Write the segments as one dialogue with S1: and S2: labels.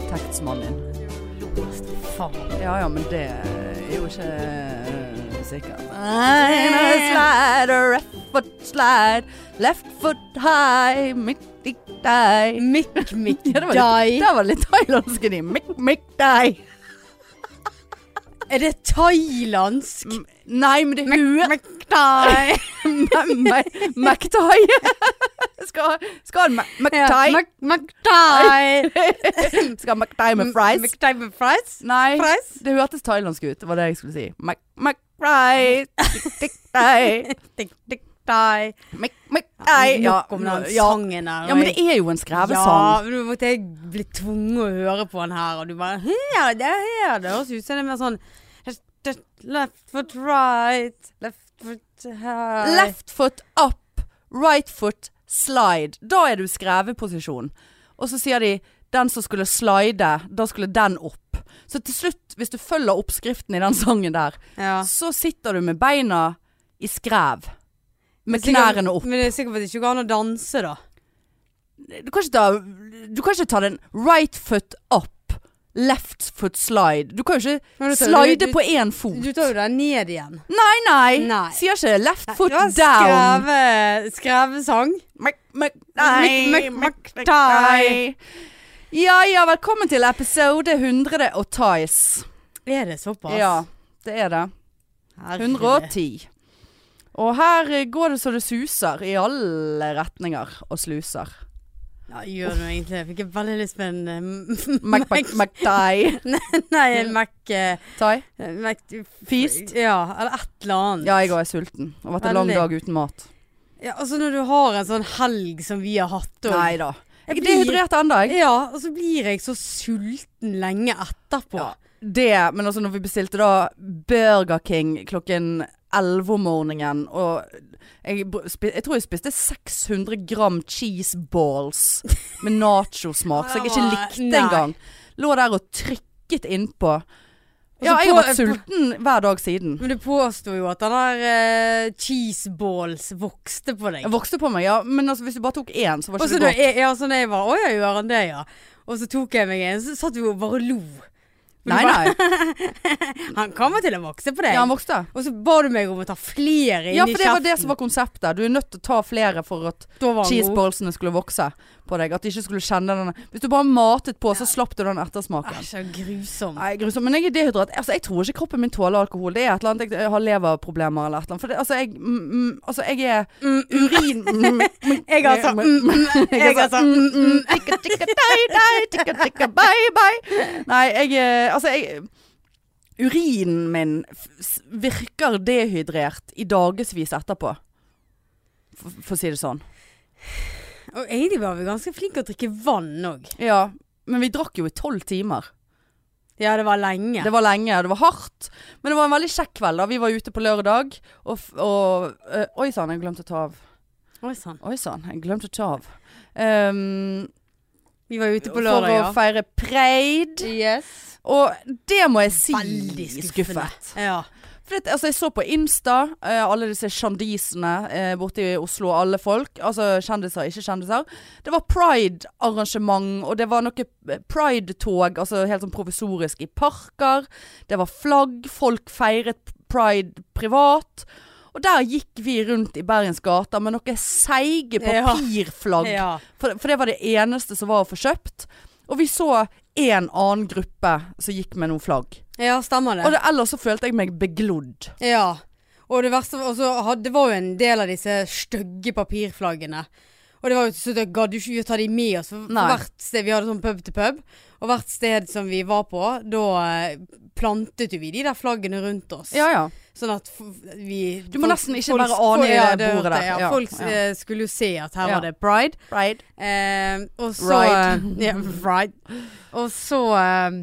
S1: Statsmannen. Faen. Ja ja, men det er jo ikke eh, sikkert. I'm a slider, left foot slide, left foot high, midt i deg.
S2: Mikk, mikk,
S1: Ja, det var litt,
S2: dai.
S1: det var litt thailandsk i de. Mikk, mikk, deg.
S2: Er det thailandsk?
S1: Nei, men det huet
S2: Mektai.
S1: Mektai. Skal skal ha Mektai. Skal ha Mektai med fries.
S2: Mektai med fries?
S1: Nei,
S2: Fries?
S1: det hørtes thailandsk ut. Det var det jeg skulle si. Mek, mek, fries. Mektai.
S2: Tikk, tikk, dai.
S1: Mek, mektai.
S2: Nok
S1: Ja,
S2: om den
S1: ja.
S2: sangen her.
S1: ja, men det er jo en
S2: Ja,
S1: skrevesang.
S2: men nå måtte jeg bli tvunget å høre på den her, og du bare Ja, det er her. Det høres ut som det er mer sånn Left foot right, left foot high.
S1: Left foot up, right foot slide. Da er du i skreveposisjon. Og så sier de den som skulle slide, da skulle den opp. Så til slutt, hvis du følger oppskriften i den sangen der,
S2: Ja.
S1: så sitter du med beina i skrev. Med
S2: Sikkert-
S1: knærne opp.
S2: Men det er sikkert fordi det ikke går an å danse, da.
S1: Du kan ikke ta, du kan ikke ta den right foot up, left foot slide. Du kan jo
S2: Men
S1: ikke
S2: du tar-
S1: slide
S2: du- du-
S1: på én fot.
S2: Du tar jo deg ned igjen.
S1: Nei, nei,
S2: Nei.
S1: Sier ikke left foot
S2: Det var
S1: down.
S2: Skreve, skrevesang.
S1: Mek, mek, nei,
S2: Mek, mek,
S1: mek,
S2: mek,
S1: nei. Ja ja, velkommen til episode 100 og Tice.
S2: Er det såpass?
S1: Ja, det er det. 110. Og her eh, går det så det suser i alle retninger og sluser.
S2: Ja, gjør det egentlig. Jeg fikk veldig lyst på en eh,
S1: Mac, Mac, Mac, Thai.
S2: Nei, en Mac, eh,
S1: Thai?
S2: Mac
S1: Feast?
S2: Ja, eller et eller annet.
S1: Ja, jeg òg er sulten. Det har vært en lang
S2: Veldig.
S1: dag uten mat.
S2: Ja, altså når du har en sånn helg som vi har hatt og-
S1: Nei da. Jeg er
S2: Jeg blir-
S1: dehydrert ennå, jeg.
S2: Ja, og så blir jeg så sulten lenge etterpå.
S1: Ja, det, men altså når vi bestilte da Burger King klokken 11 om morgenen, og jeg, br- spi- jeg tror jeg spiste 600 gram cheese balls med nachosmak, som jeg ikke likte
S2: Nei.
S1: engang. Lå der og trykket innpå.
S2: Og så
S1: Ja, jeg har
S2: på-
S1: vært sulten hver dag siden.
S2: Men du påsto jo at den der eh, cheese balls vokste på deg.
S1: Jeg vokste på meg, ja, men altså, hvis du bare tok én, så var
S2: Og så
S1: ikke
S2: da
S1: det godt.
S2: jeg, ja, så da jeg var Å ja, gjør han det, ja. Og så tok jeg meg en, så satt vi jo bare og lo. Men
S1: Nei,
S2: du bare,
S1: nei.
S2: Han kommer til å vokse på deg.
S1: Ja, han vokste.
S2: og så ba du meg om å ta flere inn
S1: Ja,
S2: i
S1: for det var
S2: kjeften.
S1: det som var konseptet. Du er nødt til å ta flere for at
S2: Da var han god.
S1: cheeseballsene skulle vokse på deg. At de ikke skulle kjenne den Hvis du bare matet på, så slapp du den ettersmaken.
S2: Æsj, så grusom.
S1: Nei, grusomt. Men jeg er dehydrat. Altså, jeg tror ikke kroppen min tåler alkohol. Det er et eller annet Jeg har leverproblemer eller et eller annet. For det, altså, jeg mm, mm, Altså, jeg er
S2: Mm, mm,
S1: urin... Mm, mm,
S2: jeg altså
S1: mm,
S2: mm, mm, Jeg altså mm, mm.
S1: tikka, tikka, dei, dei, tikka, tikka, bye, bye. Nei, jeg eh, Altså, jeg Urinen min f- s- virker dehydrert i dagevis etterpå. For, for å si det sånn.
S2: Og egentlig var vi ganske flinke til å drikke vann òg.
S1: Ja, men vi drakk jo i tolv timer.
S2: Ja, det var lenge.
S1: Det var lenge, det var hardt. Men det var en veldig kjekk kveld. da Vi var ute på lørdag, og, f- og eh, Oi sann, jeg glemte å ta av.
S2: Oi sann.
S1: Oi sann, jeg glemte å ta av. Ehm,
S2: Vi var ute på
S1: for å
S2: lørdag,
S1: feire pride.
S2: ja. Yes.
S1: Og det må jeg si
S2: Veldig skuffende. Ja.
S1: For det, altså, jeg så på Insta eh, alle disse kjendisene eh, borte i Oslo, alle folk. Altså kjendiser, ikke kjendiser. Det var pride-arrangement, og det var noe eh, pride-tog, altså helt sånn provisorisk i parker. Det var flagg, folk feiret pride privat. Og der gikk vi rundt i Bergens gater med noen seige
S2: Ja.
S1: papirflagg.
S2: ja.
S1: For, for det var det eneste som var å få kjøpt. Og vi så en annen gruppe som gikk med noen flagg.
S2: Ja, stemmer det.
S1: Og det, ellers så følte jeg meg beglodd.
S2: Ja. Og det verste og så had- Det var jo en del av disse stygge papirflaggene. Og det var jo så det gadd jo ikke vi å ta de med oss. For for
S1: Nei.
S2: hvert sted, Vi hadde sånn pub til pub, og hvert sted som vi var på, da eh, plantet jo vi de der flaggene rundt oss.
S1: Ja, ja.
S2: Sånn at f- vi
S1: Du må nesten ikke være
S2: fol-
S1: aning i det
S2: hørte
S1: bordet der.
S2: jeg, Ja,
S1: Ja,
S2: folk
S1: ja.
S2: eh, skulle jo se at her
S1: Ja.
S2: var det pride.
S1: Right.
S2: Eh, og så eh,
S1: Right.
S2: ja, right. Og så eh,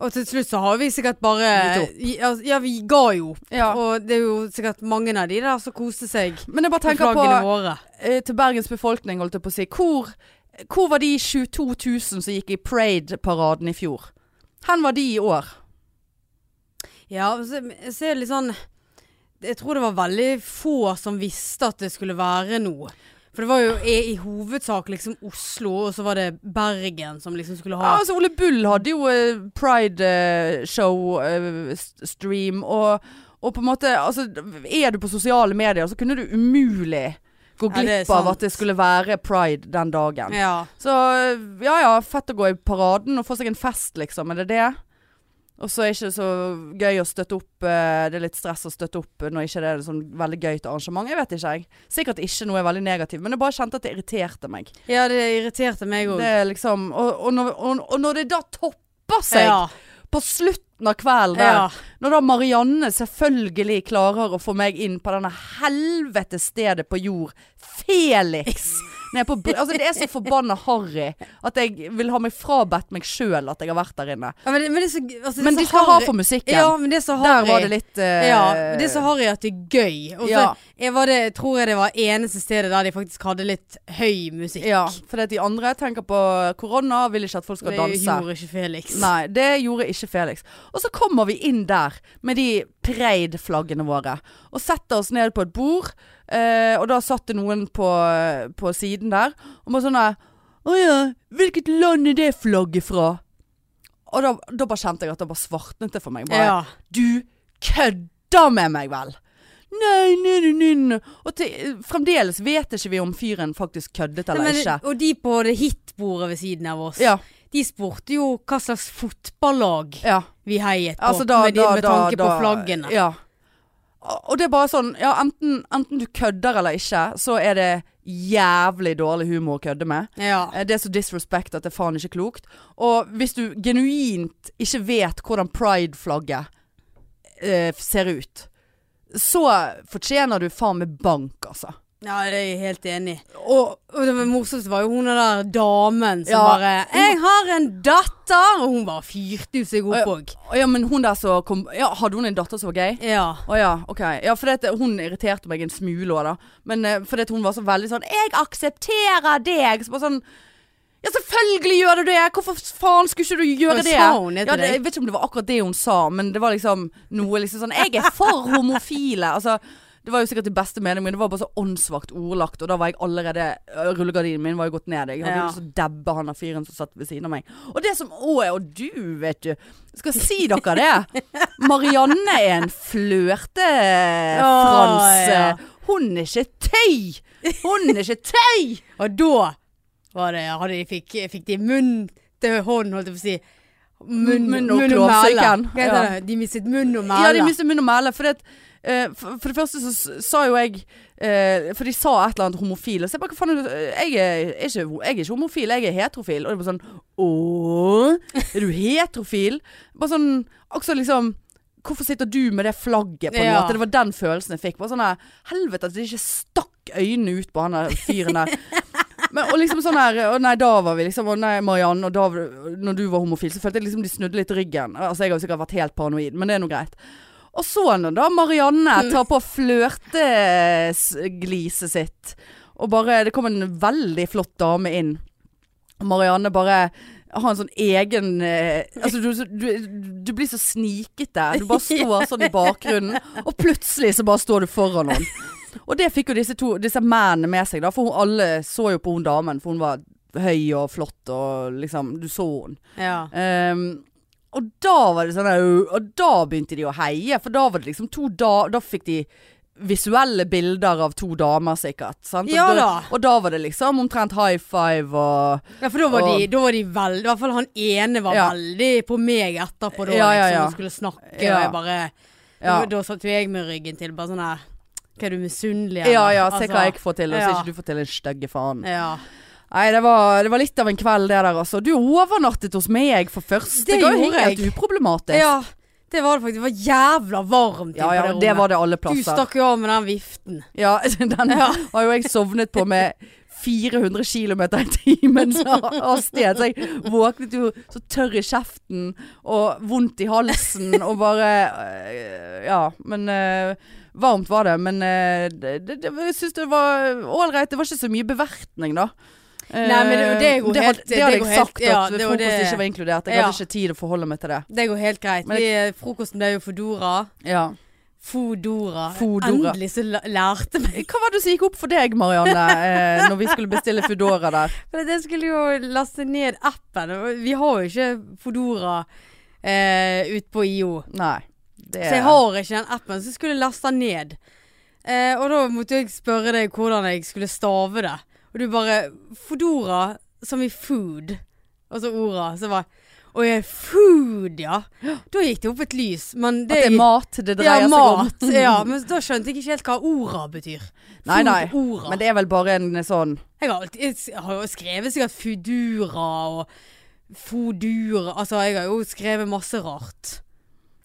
S2: Og til slutt så har vi sikkert bare
S1: Gitt opp.
S2: Ja, altså, ja, vi ga jo opp.
S1: Ja.
S2: Og det er jo sikkert mange av de der som koste seg med
S1: Men jeg bare tenker på
S2: flaggene våre.
S1: eh, Til Bergens befolkning, holdt jeg på å si. Hvor, hvor var de 22 000 som gikk i Parade-paraden i fjor? Hen var de i år?
S2: Ja, og så, så er det litt sånn Jeg tror det var veldig få som visste at det skulle være noe. For det var jo i, i hovedsak liksom Oslo, og så var det Bergen som liksom skulle
S1: Ja,
S2: ha
S1: altså Ole Bull hadde jo eh, pride-show-stream, og, og på en måte altså, Er du på sosiale medier, så kunne du umulig gå
S2: Ja, det er
S1: glipp av
S2: sant.
S1: at det skulle være pride den dagen.
S2: Ja.
S1: Så ja ja, fett å gå i paraden og få seg en fest, liksom. Er det det? Og så er det ikke så gøy å støtte opp eh, Det er litt stress å støtte opp når ikke det er et sånn veldig gøyt arrangement. Jeg vet ikke, jeg. Sikkert ikke noe veldig negativt, men jeg bare kjente at det irriterte meg.
S2: ja, det irriterte meg òg.
S1: Det er liksom Og, og, når, og, og når det da topper seg
S2: Ja.
S1: på slutten av kvelden der,
S2: ja.
S1: når da Marianne selvfølgelig klarer å få meg inn på denne helvete stedet på jord, Felix! Nede på, br- altså det er så forbanna harry at jeg vil ha meg frabedt meg sjøl at jeg har vært der inne.
S2: Ja, Men, det- men det er så altså, det er
S1: Men
S2: så
S1: de skal ha
S2: harry-
S1: for musikken.
S2: Ja, men det er så
S1: der
S2: harry.
S1: var det litt eh,
S2: Ja, men det er så harry at det er gøy. Og så
S1: Ja.
S2: jeg var det, tror jeg det var eneste stedet der de faktisk hadde litt høy musikk.
S1: ja, fordi at de andre tenker på korona, vil ikke at folk skal
S2: det
S1: danse.
S2: gjorde ikke Felix.
S1: Nei, det gjorde ikke Felix. Og så kommer vi inn der med de Preid-flaggene våre. Og setter oss ned på et bord. Eh, og da satt det noen på, på siden der. Og med sånne Å ja, hvilket land er det flagget fra? Og da, da bare kjente jeg at det bare svartnet det for meg. Bare,
S2: Ja.
S1: Du kødder med meg vel? Nei, nei, nei, nei, nei. Og til, fremdeles vet ikke vi om fyren faktisk køddet eller
S2: Nei, men-
S1: ikke.
S2: Og de på det hitbordet ved siden av oss,
S1: Ja,
S2: de spurte jo hva slags fotballag
S1: ja.
S2: vi heiet på.
S1: Altså, da,
S2: med, de,
S1: da,
S2: med
S1: da,
S2: tanke
S1: da,
S2: på flaggene.
S1: Ja. Og og det er bare sånn ja, enten, enten du kødder eller ikke, så er det jævlig dårlig humor å kødde med.
S2: Ja.
S1: Eh, Det er så disrespect at det er faen ikke klokt. Og hvis du genuint ikke vet hvordan pride-flagget eh, ser ut, så fortjener du faen meg bank, altså.
S2: ja, det er jeg helt enig i.
S1: Og
S2: Og det var morsomste var jo hun der damen som
S1: Ja.
S2: bare 'Jeg har en datter!' Og hun bare fyrte jo seg
S1: Ja.
S2: opp òg.
S1: og ja, men hun der som kom ja, Hadde hun en datter som var gay?
S2: Ja.
S1: Å ja, ok. Ja, for dette, hun irriterte meg en smule òg, da. Men eh, fordi at hun var så veldig sånn 'Jeg aksepterer deg'. Så bare sånn Ja, selvfølgelig gjør du det! Hvorfor faen skulle ikke du gjøre
S2: Hva
S1: det?
S2: sa hun etter
S1: ja, det?
S2: deg?
S1: Jeg vet ikke om det var akkurat det hun sa, men det var liksom noe liksom sånn 'Jeg er for homofile'. Altså det var jo sikkert i beste mening, men det var bare så åndssvakt ordlagt. Og da var jeg allerede øh, Rullegardinen min var jo gått ned. Jeg hadde
S2: Ja.
S1: jo lyst til å dabbe han av fyren som satt ved siden av meg. Og det som òg er Og du, vet du. Skal si dere det. Marianne er en flørtefrans.
S2: Å, ja.
S1: Hun er ikke tøy! Hun er ikke tøy!
S2: Og da var det, hadde de fikk, fikk de munn til hånd, holdt jeg på å si.
S1: Munn og
S2: mæle.
S1: klovsyken.
S2: Hva heter det? De mistet munn og mæle.
S1: Ja, de mistet munn og mæle. For, eh, for, for det første så s- sa jo jeg eh, For de sa et eller annet homofil. Og så jeg bare hva faen er det- jeg, er ikke, ho- jeg er ikke homofil, jeg er heterofil. Og det er bare sånn Ååå? Er du heterofil? Bare sånn Også liksom Hvorfor sitter du med det flagget, på en
S2: Ja.
S1: måte? Det var den følelsen jeg fikk. Bare sånn her Helvete at de ikke stakk øynene ut på han der fyren der. Men, og liksom sånn her Å nei, da var vi liksom Å nei, Marianne, og da var du- Når du var homofil, så følte jeg liksom de snudde litt ryggen. Altså, jeg har jo sikkert vært helt paranoid, men det er nå greit. Og så når da Marianne tar på flørtegliset sitt, og bare Det kom en veldig flott dame inn. Og Marianne bare har en sånn egen eh, Altså, du, du, du blir så snikete. Du bare står sånn i bakgrunnen, og plutselig så bare står du foran henne. Og det fikk jo disse, to- disse mennene med seg, da, for hun, alle så jo på hun damen, for hun var høy og flott og liksom Du så hun.
S2: Ja.
S1: Ehm, og da var det sånn «Au», Og da begynte de å heie, for da var det liksom to da, da fikk de visuelle bilder av to damer, sikkert. Sant? Og,
S2: Ja da.
S1: og da var det liksom omtrent high five og
S2: ja, for da var,
S1: Og-
S2: de, da var de veldig I hvert fall han ene var
S1: Ja.
S2: veldig på meg etterpå da
S1: Ja, ja,
S2: liksom,
S1: ja.
S2: han skulle snakke,
S1: Ja.
S2: og jeg bare
S1: Ja.
S2: da, da satt jo jeg med ryggen til, bare sånn her Hva er du misunnelig
S1: Ja
S2: eller?»
S1: ja, se hva jeg
S2: Altså,
S1: får til, og så
S2: ja.
S1: ikke du får til en stygge faen.
S2: ja.
S1: Nei, det var, det var litt av en kveld det der, altså. Du overnattet hos meg for første
S2: Det
S1: gang.
S2: gjorde
S1: Helt
S2: jeg.
S1: uproblematisk.
S2: ja. Det var det faktisk. Det var jævla varmt
S1: Ja, ja,
S2: inne på
S1: det var
S2: rommet.
S1: det alle
S2: Du
S1: plasser.
S2: stakk jo av med den viften.
S1: Ja, den har jo jeg sovnet på med 400 km i timen så- av sted. Så jeg våknet jo så tørr i kjeften og vondt i halsen og bare øh, Ja, men øh, Varmt var det, men øh, det, det, det, jeg syns det var ålreit. Det var ikke så mye bevertning, da.
S2: Nei, men det- det går
S1: Eh, hadde-
S2: helt- det
S1: det hadde
S2: går
S1: jeg
S2: helt-
S1: sagt,
S2: ja,
S1: at
S2: det var
S1: frokost
S2: det-
S1: ikke var inkludert. Jeg
S2: Ja.
S1: hadde ikke tid å forholde meg til det.
S2: Det går helt greit. eh,
S1: Men
S2: Vi, frokosten ble jo Foodora.
S1: Ja.
S2: Fodora.
S1: Foodora.
S2: Endelig så la- lærte meg
S1: Hva var det som gikk opp for deg, Marianne, eh, når vi skulle bestille Foodora der?
S2: For jeg skulle jo laste ned appen. og Vi har jo ikke Fodora eh, ute på IO.
S1: Nei. Det,
S2: Så jeg har ikke den appen, så jeg skulle laste den ned. Eh, og da måtte jeg spørre deg hvordan jeg skulle stave det. Og du bare Fodora som i food. Og så orda. Så bare Å ja, food, ja. Da gikk det opp et lys. Men det,
S1: at det er mat det dreier
S2: ja, mat.
S1: seg om.
S2: ja, men da skjønte jeg ikke helt hva orda betyr.
S1: Nei, nei.
S2: Foodora.
S1: Men det er vel bare en sånn
S2: Jeg har, alltid, jeg har jo skrevet sikkert Fudura og Fodura Altså, jeg har jo skrevet masse rart.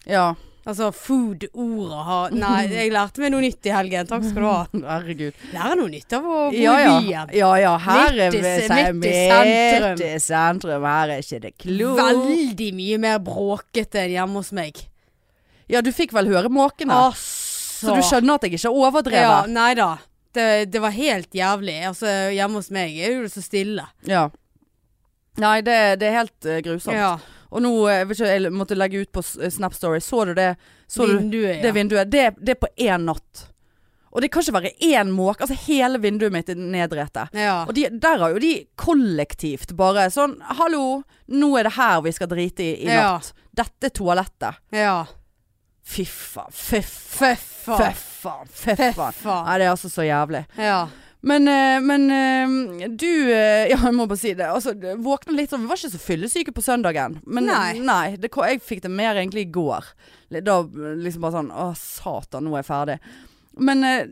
S1: Ja,
S2: Altså, food-ordet har Nei, jeg lærte meg noe nytt i helgen. Takk skal du ha.
S1: herregud.
S2: Lære noe nytt av å bo
S1: Ja ja.
S2: i byen.
S1: ja, ja her er
S2: Midt i-
S1: vi
S2: midt i sentrum.
S1: Midt i sentrum. Her er ikke det klokt.
S2: Veldig mye mer bråkete enn hjemme hos meg.
S1: Ja, du fikk vel høre måkene?
S2: Altså.
S1: Så du skjønner at jeg ikke
S2: Ja,
S1: overdrevet?
S2: nei da. Det, det var helt jævlig. Altså, hjemme hos meg er det jo så stille.
S1: Ja. Nei, det, det er helt eh, grusomt.
S2: Ja.
S1: Og nå eh, jeg vet ikke, jeg måtte legge ut på s- eh, Snap Story. Så du det? Så du,
S2: Vinduet,
S1: Det
S2: ja.
S1: vinduet, det, det er på én natt. Og det kan ikke være én måke. Altså hele vinduet mitt er nedrette.
S2: ja.
S1: Og de, der har jo de kollektivt bare sånn Hallo, nå er det her vi skal drite i i
S2: Ja.
S1: natt. Dette er toalettet.
S2: ja.
S1: Fy faen. Fy
S2: Føffa.
S1: faen. Fy faen. Nei, det er altså så jævlig.
S2: Ja.
S1: Men, eh, men eh, du eh, Ja, jeg må bare si det. Altså, det- våkna litt sånn Vi var ikke så fyllesyke på søndagen. Men
S2: Nei.
S1: nei, det, ko- jeg fikk det mer egentlig i går. Litt Da liksom bare sånn Å, satan, nå er jeg ferdig. Men eh,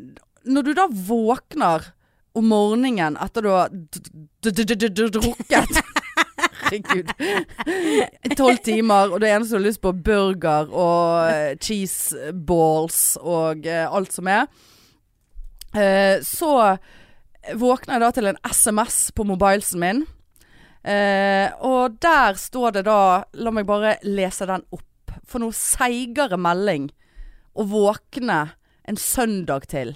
S1: når du da våkner om morgenen etter du har d- d- d- d- d- d- drukket Herregud. Tolv timer, og det eneste du har lyst på, er burger og eh, cheese balls og eh, alt som er. Eh, så våkner jeg da til en SMS på mobilesen min. Eh, og der står det da La meg bare lese den opp. For noe seigere melding å våkne en søndag til.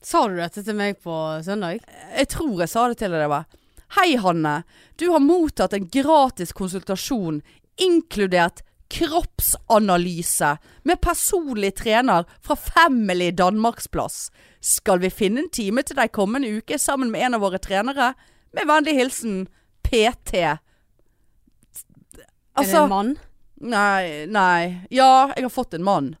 S2: Sa du dette til meg på søndag?
S1: Jeg tror jeg sa det til deg. det var Hei, Hanne. Du har mottatt en gratis konsultasjon, inkludert kroppsanalyse, med personlig trener fra Family Danmarksplass. Skal vi finne en time til deg kommende uke sammen med en av våre trenere? Med vennlig hilsen PT. Altså,
S2: er det en mann?
S1: Nei, nei. Ja, jeg har fått en mann.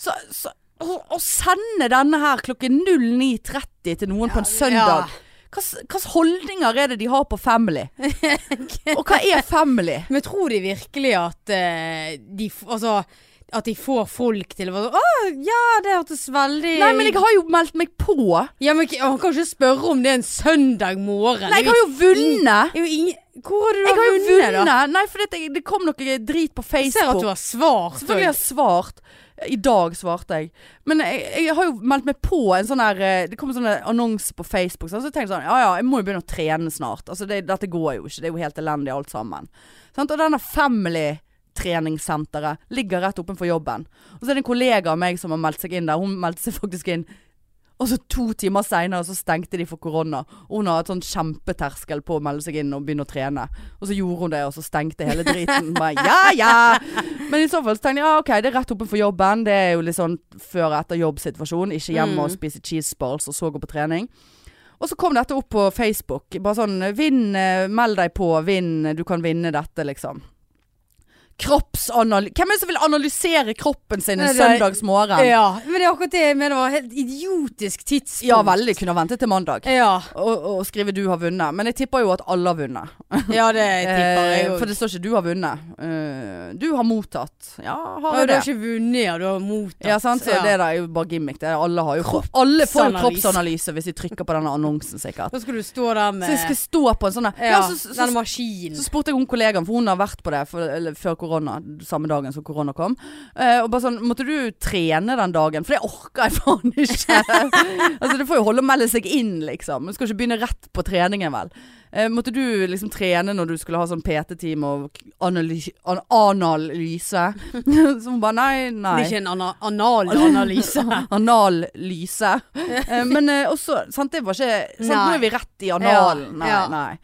S1: Så, så å, å sende denne her klokken 09.30 til noen på en søndag Hva slags holdninger er det de har på family? Og hva er family?
S2: Men tror de virkelig at eh, de f- Altså at de får folk til å være sånn Å ja, det hørtes veldig
S1: Nei, men jeg har jo meldt meg på.
S2: Ja, men ikke- Han kan jo ikke spørre om det er en søndag morgen.
S1: Nei, jeg har jo vunnet.
S2: Det er jo ingen- Hvor har du
S1: Jeg har jo
S2: vunnet, da?
S1: vunnet. Nei, for det, det kom noe drit på
S2: Jeg ser at du
S1: Facebook.
S2: har svart.
S1: Selvfølgelig har jeg svart. I dag svarte jeg. Men jeg, jeg har jo meldt meg på en sånn her eh, Det kom en sånn her annonse på Facebook. Så jeg tenkte sånn Ja ja, jeg må jo begynne å trene snart. Altså det, dette går jo ikke. Det er jo helt elendig alt sammen. Sant? Og denne family treningssenteret ligger rett oppenfor jobben. Og så er det en kollega av meg som har meldt seg inn der. Hun meldte seg faktisk inn. Og så to timer seinere så stengte de for korona. Og hun har et sånn kjempeterskel på å melde seg inn og begynne å trene. Og så gjorde hun det, og så stengte hele driten. Bare, ja, ja. Men i så fall så tenkte jeg ja, ok, det er rett oppe for jobben. Det er jo litt sånn før og etter jobbsituasjon. Ikke hjemme
S2: Mm.
S1: og spise cheese balls og så gå på trening. Og så kom dette opp på Facebook. Bare sånn Vinn, eh, meld deg på. Vinn, du kan vinne dette, liksom. Kroppsanalyse Hvem er det som vil analysere kroppen sin en
S2: Nei, det er-
S1: søndagsmorgen? Ja,
S2: Ja, men det er akkurat det jeg mener var helt idiotisk tidspunkt.
S1: veldig. Kunne ha ventet til mandag.
S2: Ja,
S1: Og, og skrive 'du har vunnet'. Men jeg tipper jo at alle har vunnet.
S2: ja det tipper jeg
S1: Eh,
S2: òg.
S1: for det står ikke 'du har vunnet'. Eh, du har mottatt. Ja, har jo
S2: Du
S1: det.
S2: har ikke vunnet, ja. Du har mottatt.
S1: Ja, sant? Så
S2: Ja.
S1: det der er jo bare gimmick. Det er, alle, har jo kropp, alle får jo
S2: Kroppsanalyse.
S1: kroppsanalyse hvis de trykker på denne annonsen, sikkert.
S2: Da skal du stå der med
S1: Så jeg skal stå på en sånn der. Ja,
S2: ja,
S1: så, så,
S2: den
S1: så,
S2: maskinen.
S1: så spurte jeg hun kollegaen, for hun har vært på det for, eller, før korona, samme dagen som korona kom. Eh, og bare sånn Måtte du trene den dagen? For det orker jeg faen ikke. altså, det får jo holde å melde seg inn, liksom. Du skal ikke begynne rett på treningen, vel. Eh, måtte du liksom trene når du skulle ha sånn PT-time og analyse? An analyse? så hun bare nei, nei.
S2: Det er ikke en ana analanalyse.
S1: Anallyse. Eh, Men eh, også sant, det var ikke sant, Nå
S2: Nei.
S1: er vi rett i analen.
S2: Ja,
S1: Nei,
S2: ja.
S1: nei.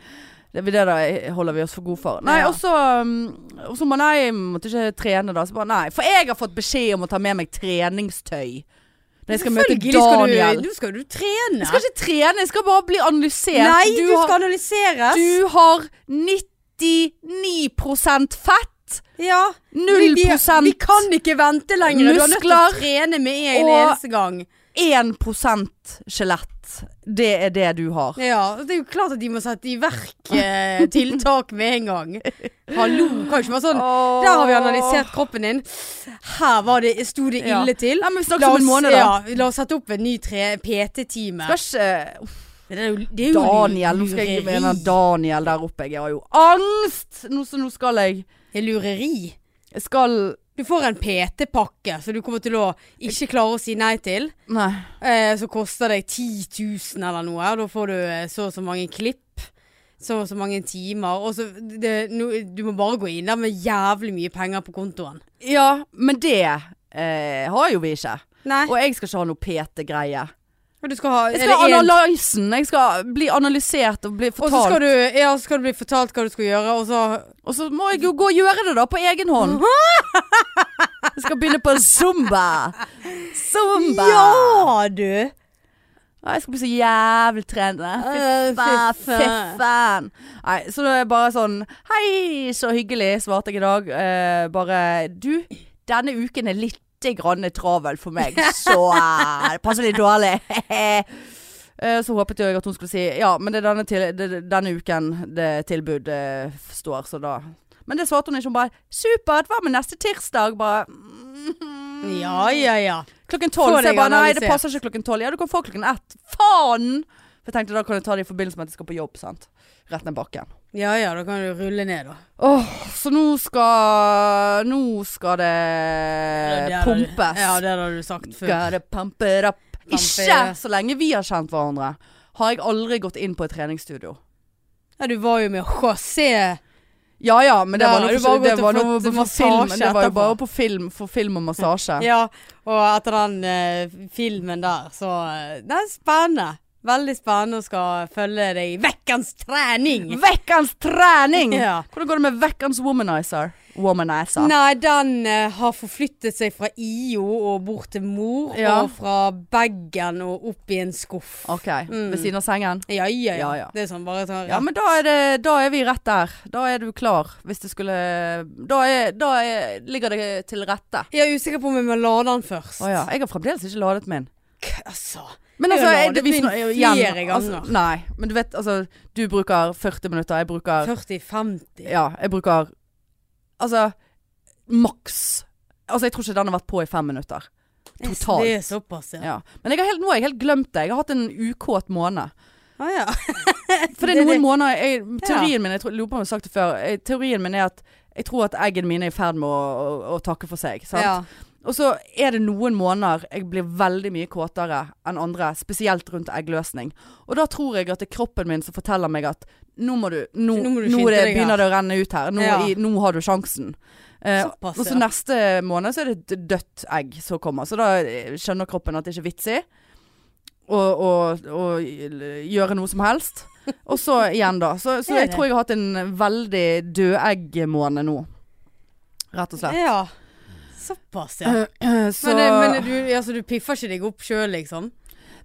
S1: Det, det der holder vi oss for gode for. Nei,
S2: Ja.
S1: og så um, Og så må nei, jeg måtte ikke trene da. Så bare nei. For jeg har fått beskjed om å ta med meg treningstøy. Når jeg skal møte
S2: Selvfølgelig skal du-
S1: Daniel.
S2: Nå skal du trene.
S1: Jeg skal ikke trene, jeg skal bare bli analysert.
S2: Nei, du,
S1: har-
S2: skal analyseres.
S1: Du har 99 fett,
S2: ja. Vi-
S1: 0
S2: vi, vi kan ikke vente lenger. Du er nødt til å
S1: muskler
S2: trene med en
S1: og-
S2: eneste gang.
S1: 1 skjelett. Det er det du har.
S2: Ja, og Det er jo klart at de må sette i verk eh, tiltak med en gang. Hallo, kan ikke være sånn. Der har vi analysert kroppen din. Her var det, sto det
S1: Ja.
S2: ille til.
S1: Nei, men Vi snakkes om en måned, da.
S2: ja, la oss sette opp en ny tre- PT-time.
S1: Skal ikke Uff,
S2: Det er jo, det er jo
S1: Daniel. Nå skal jeg med den
S2: lureri.
S1: Daniel der oppe. Jeg har jo angst! Nå, så nå skal jeg
S2: Det er lureri.
S1: Jeg skal
S2: Du får en PT-pakke som du kommer til å ikke klare å si nei til.
S1: Nei.
S2: Eh, så koster det 10 000 eller noe. og Da får du eh, så og så mange klipp. Så og så mange timer. Og så det, no, du må bare gå inn der med jævlig mye penger på kontoen.
S1: Ja, men det eh, har jo vi ikke.
S2: Nei.
S1: Og jeg skal ikke ha noe PT-greie.
S2: Og du skal ha
S1: Jeg
S2: er
S1: skal ha
S2: det en-
S1: analysen. Jeg skal bli analysert og bli
S2: Og så
S1: fortalt.
S2: skal, du- ja, så skal du bli fortalt hva du skal gjøre, og så
S1: Og så må jeg jo gå og gjøre det da, på egen hånd. Jeg skal begynne på zumba. Zumba.
S2: Ja, du!
S1: Nei, Jeg skal bli så jævlig trende.
S2: Eh,
S1: Fy faen,
S2: fy
S1: fy
S2: faen.
S1: faen. Nei, så det er bare sånn Hei, så hyggelig, svarte jeg i dag. Eh, bare Du, denne uken er litt grann travel for meg, så eh, det passer litt dårlig. Eh, Så håpet jeg at hun skulle si ja, men det er denne, til, det, det- denne uken det tilbudet står, så da Men det svarte hun ikke. Hun bare 'Supert, hva med neste tirsdag?' Bare mm,
S2: Ja, ja, ja.
S1: Klokken tolv. Så
S2: Få
S1: jeg
S2: deg
S1: bare nei, det
S2: analysert.
S1: passer ikke klokken tolv. Ja, du kan få klokken ett. Faen! For jeg tenkte da kan jeg ta det i forbindelse med at jeg skal på jobb, sant. Rett ned bakken.
S2: Ja ja, da kan du rulle ned, da.
S1: Åh, så nå skal Nå skal det,
S2: Ja, det hadde-
S1: Eh, pumpes.
S2: Ja, det hadde du sagt før.
S1: Gotta pump it up.
S2: Pump it
S1: Ikke
S2: up.
S1: så lenge vi har kjent hverandre, har jeg aldri gått inn på et treningsstudio.
S2: Ja, du var jo med José.
S1: Ja ja, men det var
S2: Ja, har
S1: noe
S2: du
S1: for,
S2: bare
S1: det
S2: gått og
S1: var noe
S2: fått
S1: på
S2: massasje
S1: film. Det var jo
S2: etterpå?
S1: bare på film, for film og massasje.
S2: Ja, og etter den eh, filmen der, så eh, Det er spennende. Veldig spennende å skal følge deg i vekkens trening.
S1: Vekkens trening!
S2: Ja.
S1: Hvordan går det med vekkens womanizer? Womanizer.
S2: Nei, den eh, har forflyttet seg fra IO og bort til mor,
S1: Ja.
S2: og fra bagen og opp i en skuff.
S1: Ok,
S2: Mm.
S1: ved siden av sengen.
S2: Ja, ja, ja,
S1: Ja, ja.
S2: Det er sånn bare ta
S1: Ja, men da er, det, da er vi rett der. Da er du klar, hvis det skulle Da, er, da er, ligger det til rette.
S2: Jeg er usikker på om jeg må lade den først.
S1: Å ja. Jeg har fremdeles ikke ladet min.
S2: K- Altså.
S1: Men
S2: Jeg
S1: altså,
S2: har
S1: er
S2: ladet
S1: det, vi
S2: min
S1: snak- igjen,
S2: flere ganger.
S1: Altså, nei, men du vet, altså Du bruker 40 minutter, jeg bruker
S2: 40-50.
S1: Ja, jeg bruker Altså maks. Altså, jeg tror ikke den har vært på i fem minutter. Totalt.
S2: Det er såpass, ja.
S1: Ja. Men jeg har helt, nå har jeg helt glemt det. Jeg har hatt en ukåt måned.
S2: Ah, ja.
S1: For det er
S2: Det- det-
S1: noen måneder jeg, Teorien min, jeg tror, lurer på om jeg har sagt det før eh, Teorien min er at jeg tror at eggene mine er i ferd med å, å, å takke for seg sant?
S2: ja.
S1: Og så er det noen måneder jeg blir veldig mye kåtere enn andre Spesielt rundt eggløsning Og da tror jeg at det er kroppen min som forteller meg at Nå må du Nå,
S2: Nå
S1: nå,
S2: må du skynde
S1: det,
S2: deg her.
S1: begynner det å renne ut her Nå,
S2: Ja.
S1: i, nå har du sjansen Eh,
S2: Såpass,
S1: Og så
S2: ja.
S1: neste måned så er det et dødt egg som kommer Så da eh, skjønner kroppen at det ikke er vitsig og, og, og gjøre noe som helst. Og så igjen, da. Så, så
S2: Er
S1: jeg
S2: det?
S1: tror jeg har hatt en veldig dødeggmåned nå. Rett og slett.
S2: ja. Såpass, ja.
S1: Så
S2: Men, eh, men du, altså, du piffer ikke deg opp sjøl, liksom?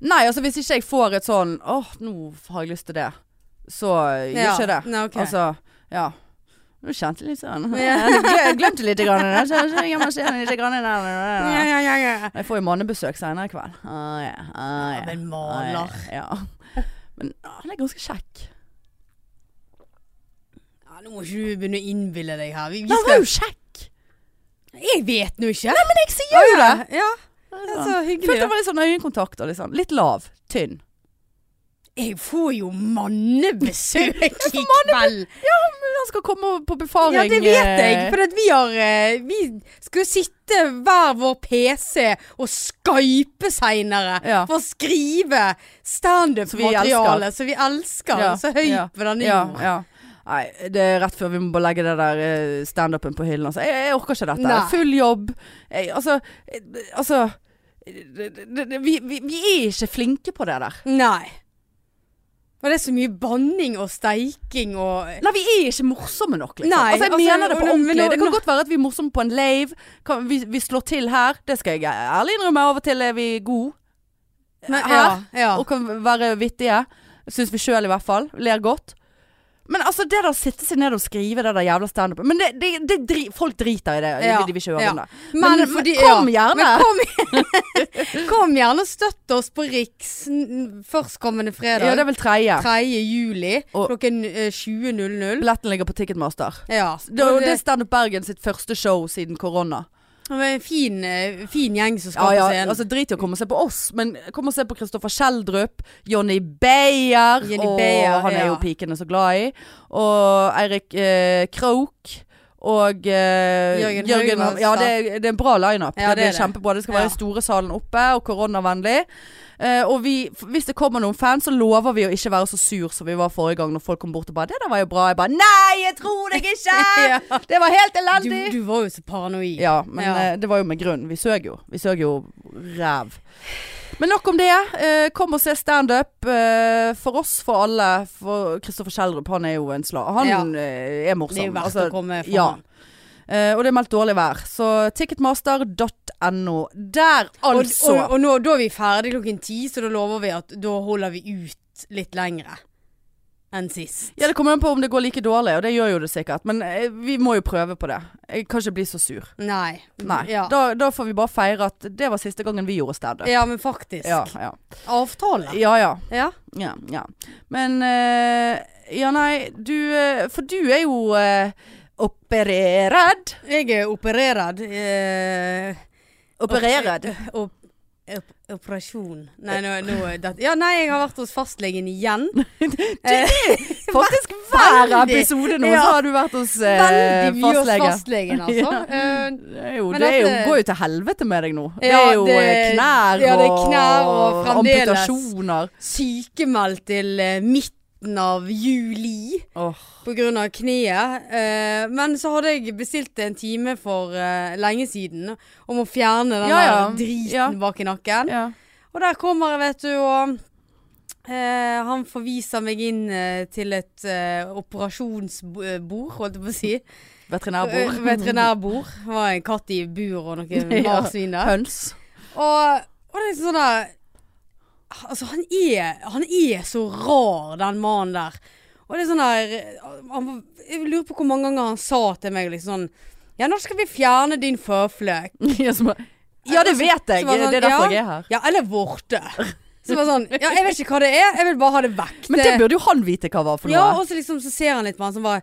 S1: Nei, altså hvis ikke jeg får et sånn Åh, nå har jeg lyst til det. Så eh, gjør
S2: Ja.
S1: ikke det.
S2: Nei, ok.
S1: Altså, ja. Nå kjente jeg litt sånn
S2: Ja.
S1: Jeg glem- glemte litt. Grann, jeg, jeg, jeg, må se den litt grann,
S2: Ja, ja, ja, ja.
S1: jeg får jo mannebesøk senere i kveld. Ah, ja. Ah, ja.
S2: Ja, men
S1: Nei,
S2: maler.
S1: Ja. Men ah, han er ganske kjekk.
S2: Ja, nå må ikke du begynne å innbille deg her. Vi, vi
S1: Han var
S2: skal,
S1: jo kjekk!
S2: jeg vet nå ikke.
S1: Men jeg sier jo det!
S2: Ja,
S1: Jeg
S2: det er så hyggelig.
S1: Følte det
S2: da.
S1: var litt sånn øyekontakt og litt sånn. Litt lav. Tynn.
S2: Jeg får jo mannebesøk i kveld.
S1: Men han skal komme på befaring.
S2: Ja, det vet jeg.
S1: eh,
S2: For at vi har eh, Vi skal jo sitte hver vår PC og skype seinere
S1: Ja.
S2: for å skrive standup-materiale som vi elsker.
S1: Ja,
S2: Så høyt
S1: ja,
S2: på denne
S1: ja,
S2: jord.
S1: ja. Nei, det er rett før vi må bare legge det der eh, standupen på hyllen. Altså. Jeg, jeg orker ikke dette.
S2: Nei.
S1: Full jobb. Jeg, altså eh, Altså det, det, det, vi, vi, vi er ikke flinke på det der.
S2: Nei. Var det så mye banning og steiking og
S1: Nei, vi er ikke morsomme nok, liksom.
S2: Nei,
S1: altså, jeg
S2: altså,
S1: mener det på
S2: nå- nå-
S1: ordentlig.
S2: nå-
S1: Det kan
S2: nå-
S1: godt være at vi er morsomme på en lave. Kan, vi, vi slår til her. Det skal jeg ærlig innrømme. Av og til er vi gode.
S2: Men,
S1: Her?
S2: ja, ja.
S1: Og kan være vittige. Syns vi sjøl i hvert fall. Ler godt. Men altså, det der å sitte seg ned og skrive det der jævla standupet Men det, det, det dri, folk driter i det.
S2: Ja,
S1: De vil ikke høre
S2: ja.
S1: om det.
S2: Men,
S1: Men-
S2: fordi,
S1: men kom gjerne.
S2: Men kom, gjerne- kom gjerne og støtt oss på Riks n- førstkommende fredag.
S1: Ja, det er vel tredje.
S2: 3. juli
S1: Og-
S2: klokken eh, 20.00.
S1: Billetten ligger på Ticketmaster.
S2: Ja.
S1: Det, og det er
S2: det,
S1: Standup Bergen sitt første show siden korona.
S2: det er en fin, eh, fin gjeng som
S1: Ja,
S2: skal
S1: ja,
S2: på scenen.
S1: altså Drit i å komme og se på oss, men kom og se på Kristoffer Schjelderup, Jonny Beyer,
S2: Johnny
S1: og
S2: Beyer,
S1: han er jo
S2: ja.
S1: pikene så glad i, og Eirik eh, Krok. Og eh,
S2: Jørgen Haugmann,
S1: Ja, det, er- det er en bra lineup. det,
S2: Ja, det er
S1: blir
S2: det.
S1: kjempebra. Det skal være
S2: Ja.
S1: i store salen oppe, og koronavennlig. Eh, og vi, f- hvis det kommer noen fans, så lover vi å ikke være så sur som vi var forrige gang, når folk kom bort og bare 'Det der var jo bra'. Jeg bare 'Nei, jeg tror deg ikke!'
S2: Ja.
S1: Det var helt
S2: du,
S1: elendig!
S2: du var jo så paranoid.
S1: Ja, men
S2: Ja.
S1: eh, det var jo med grunn. Vi søg jo. Vi søg jo ræv. Men nok om det. Eh, kom og se standup. Eh, for oss, for alle. For Kristoffer Schjelderup, han er jo en slag. Han
S2: Ja.
S1: eh, er morsom.
S2: Det er jo verdt
S1: Altså,
S2: å komme for
S1: ja.
S2: han.
S1: Eh, og det er meldt dårlig vær. Så ticketmaster.no. Der,
S2: Og,
S1: altså.
S2: og, og nå, da er vi ferdig klokken ti, så da lover vi at da holder vi ut litt lengre enn sist.
S1: ja, det kommer an på om det går like dårlig, og det gjør jo det sikkert. Men eh, vi må jo prøve på det. Jeg kan ikke bli så sur.
S2: Nei.
S1: Nei.
S2: Ja.
S1: Da, da får vi bare feire at det var siste gangen vi gjorde standup.
S2: ja, men faktisk.
S1: Ja, ja.
S2: Avtale.
S1: ja, ja.
S2: Ja.
S1: Ja, ja. Men eh, Ja, nei, du eh, For du er jo eh, opererad.
S2: Jeg er opererad. Eh,
S1: Opererad.
S2: op, op, operasjon. Nei, nå, nå det, Ja, nei, jeg har vært hos fastlegen igjen.
S1: Faktisk hver
S2: veldig-
S1: episode nå
S2: ja.
S1: så har du vært hos eh,
S2: Veldig mye hos
S1: fastlege.
S2: fastlegen, altså.
S1: Ja.
S2: Eh,
S1: Det, er jo,
S2: Men
S1: det er jo,
S2: dette-
S1: går jo til helvete med deg nå. det
S2: Ja,
S1: er jo
S2: det-
S1: eh, knær,
S2: ja, det er knær og
S1: og
S2: fremdeles-
S1: amputasjoner.
S2: sykemeldt til eh, midten av juli
S1: Åh,
S2: pga. kneet. Eh, men så hadde jeg bestilt en time for eh, lenge siden om å fjerne den
S1: Ja, ja.
S2: der driten
S1: Ja.
S2: bak i nakken.
S1: ja.
S2: Og der kommer jeg, vet du, og eh, han forviser meg inn eh, til et eh, operasjonsbord, holdt jeg på å si.
S1: Veterinærbord.
S2: Eh, Veterinærbord. Det var en katt i bur og noen
S1: Ja.
S2: marsvin der.
S1: Høns.
S2: Og, og det er liksom sånn der Altså, han er, han er så rar, den mannen der. Og det er sånn der han, Jeg lurer på hvor mange ganger han sa til meg liksom sånn Ja, nå skal vi fjerne din føflekk.
S1: Ja, som bare- ja, det vet jeg.
S2: Så var det sånn,
S1: Det er derfor
S2: ja.
S1: jeg er her.
S2: Ja, eller vorte. Så bare sånn Ja, jeg vet ikke hva det er, jeg vil bare ha det vekk.
S1: Men det burde jo han vite hva var for noe.
S2: Ja, og så liksom så ser han litt på han som bare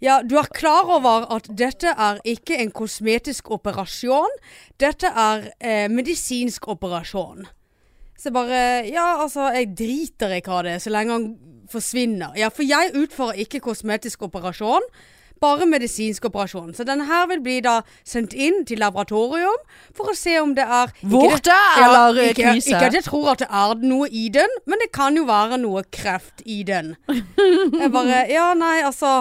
S2: ja, du er klar over at dette er ikke en kosmetisk operasjon. Dette er eh, medisinsk operasjon. Så jeg bare Ja, altså, jeg driter i hva det er, så lenge han forsvinner. Ja, for jeg utfører ikke kosmetisk operasjon, bare medisinsk operasjon. Så denne her vil bli da sendt inn til laboratorium for å se om det er ikke det-
S1: Vorte
S2: Ja,
S1: eller eh,
S2: ikke,
S1: kvise?
S2: Ikke at jeg tror at det er noe i den, men det kan jo være noe kreft i den. Jeg bare Ja, nei, altså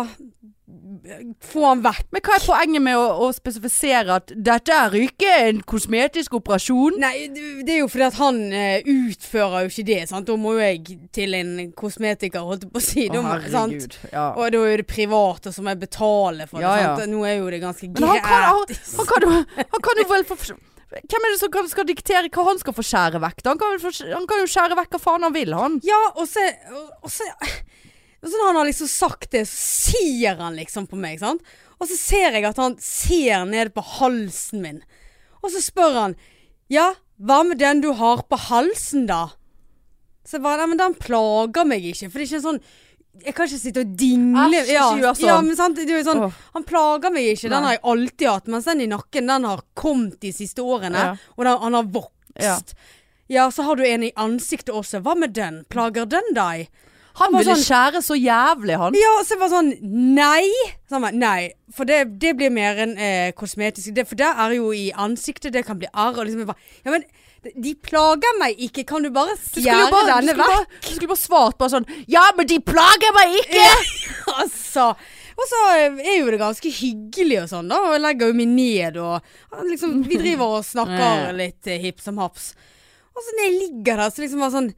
S2: Få han vekk.
S1: Men hva er poenget med å, å spesifisere at dette er ikke en kosmetisk operasjon?
S2: Nei, det det er jo fordi at han eh, utfører jo ikke det, sant. Da må jo jeg til en kosmetiker, holdt jeg på å si. Da
S1: Å,
S2: må- sant?
S1: Ja.
S2: Og da er jo det private som jeg betaler for det.
S1: Ja, ja.
S2: Sant? Nå er jo det ganske
S1: Men han kan, han,
S2: gratis.
S1: han, kan jo, han kan jo vel få Hvem er det som kan, skal diktere hva han skal få skjære vekk? da? Han kan, vel få- han kan jo skjære vekk hva faen han vil, han.
S2: Ja, og så, og så og så når han har liksom sagt det, så sier han liksom på meg, sant? Og så ser jeg at han ser ned på halsen min. Og så spør han Ja, hva med den du har på halsen, da? Så jeg bare Nei, men den plager meg ikke. For det er ikke en sånn Jeg kan ikke sitte og dingle.
S1: Æsj, ikke gjør sånn.
S2: ja, men sant? Det er jo sånn
S1: Åh.
S2: Han plager meg ikke.
S1: Nei.
S2: Den har jeg alltid hatt. Mens den i nakken, den har kommet de siste årene.
S1: Ja.
S2: Og den, han har vokst.
S1: Ja.
S2: Ja, så har du en i ansiktet også. Hva med den? Plager den deg?
S1: Han
S2: var
S1: ville
S2: sånn-
S1: skjære så jævlig, han.
S2: Ja, så jeg var sånn Nei! Så han bare nei. For det, det blir mer enn eh, kosmetisk. Det, for det er jo i ansiktet, det kan bli arr. Og liksom jeg bare Ja, men de- de plager meg ikke. Kan du bare
S1: Du skulle jo
S2: fjerne
S1: bare, du
S2: denne
S1: skulle
S2: vekk?
S1: bare, du skulle bare svart bare sånn Ja, men de plager meg ikke!
S2: altså. Og så eh, er jo det ganske hyggelig og sånn, da. Og jeg legger jo meg ned og ja, liksom Vi driver og snakker litt eh, hipp som haps. Og så når jeg ligger der, så liksom bare sånn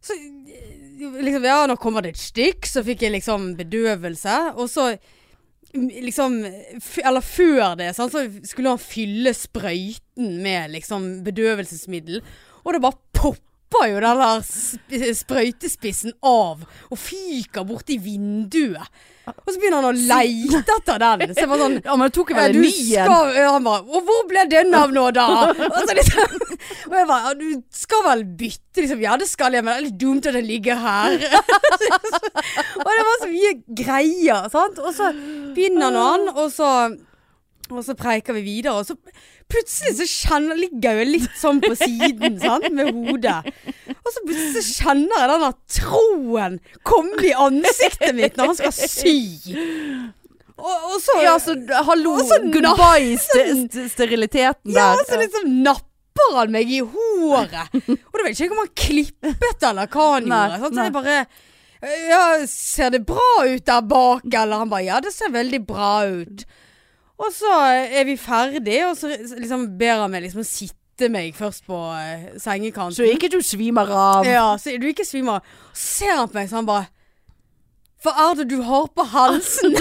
S2: Så eh, liksom, Ja, nå kommer det et stikk, så fikk jeg liksom bedøvelse. Og så mm, liksom f Eller før det, sant, så skulle han fylle sprøyten med liksom bedøvelsesmiddel. Og det bare popper jo den der sp sprøytespissen av og fyker borti vinduet. Og så begynner han å leite etter den. Så jeg var sånn
S1: Ja, men det tok jo vel
S2: du
S1: en ny en.
S2: skal, ja, han bare Og hvor ble den av nå, da? Og, så liksom, og jeg bare ja, Du skal vel bytte, liksom. Ja, det skal jeg, men det er litt dumt at den ligger her. og det var så mye greier, sant. Og så begynner nå han, og så og så preiker vi videre, og så plutselig så kjenner, ligger jeg jo litt sånn på siden, sant, med hodet. Og så plutselig så kjenner jeg denne troen komme i ansiktet mitt når han skal sy. Og, og så
S1: Ja, så hallo,
S2: Og så
S1: goodbye
S2: sånn-
S1: st st steriliteten
S2: Ja,
S1: sånn der.
S2: så liksom napper han meg i håret. Og da vet jeg ikke om han klippet eller hva han
S1: Nei,
S2: gjorde. Sant?
S1: nei.
S2: Så jeg bare Ja, ser det bra ut der bak? Eller han bare Ja, det ser veldig bra ut. Og så er vi ferdig, og så liksom ber han meg liksom å sitte meg først på eh, sengekanten.
S1: Så ikke du svimer av.
S2: Ja, så du ikke svimer. Og så ser han på meg, så han bare Hva er det du har på halsen?